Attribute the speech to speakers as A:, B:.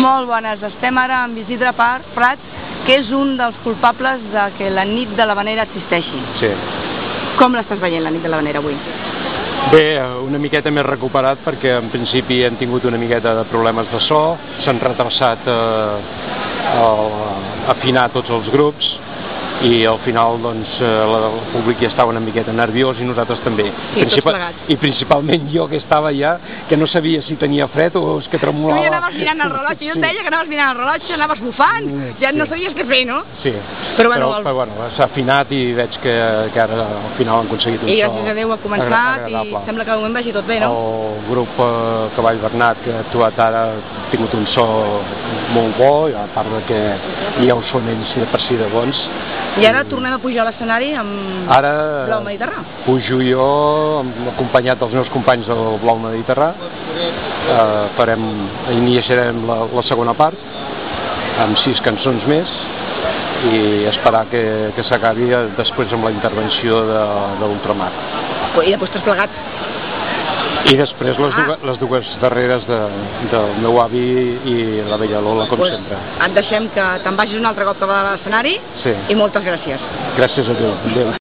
A: Molt bones. Estem ara amb Isidre Par- Prat, que és un dels culpables de que la nit de l'Havanera existeixi.
B: Sí.
A: Com l'estàs veient, la nit de l'Havanera, avui?
B: Bé, eh, una miqueta més recuperat perquè en principi hem tingut una miqueta de problemes de so, s'han retrasat eh, el, afinar tots els grups i al final doncs, eh, la, el públic ja estava una miqueta nerviós i nosaltres també.
A: Sí, tots plegats.
B: I principalment jo que estava ja, que no sabia si tenia fred o és que
A: Tu
B: tremolava.
A: ja anaves mirant el rellotge, jo et deia que anaves mirant el rellotge, anaves bufant,
B: Mm,
A: ja no
B: sí.
A: sabies què fer, no?
B: Sí,
A: Però bueno, el-
B: però, però, bueno s'ha afinat i veig que, que ara al final han aconseguit un
A: I
B: so
A: gràcies a Déu ha
B: agra-
A: començat i
B: agradable. Oh.
A: sembla que de moment vagi tot bé, no?
B: El grup eh, Cavall Bernat que ha actuat ara ha tingut un so molt bo, i a part de que ja ho són ells de per si de bons.
A: I ara tornem a pujar a l'escenari amb
B: Ara eh,
A: Blau Mediterrà.
B: pujo jo, amb- acompanyat dels meus companys del Blau Mediterrà, eh, farem, iniciarem la, la segona part, amb sis cançons més, i esperar que, que s'acabi eh, després amb la intervenció de, de l'Ultramar.
A: I després tots plegats.
B: I després les, dues,
A: Ah.
B: les dues darreres de, del meu avi i la vella Lola, com
A: Pues
B: sempre.
A: Et deixem que te'n vagis un altre cop cap a l'escenari
B: Sí.
A: i moltes gràcies.
B: Gràcies a tu. Adéu.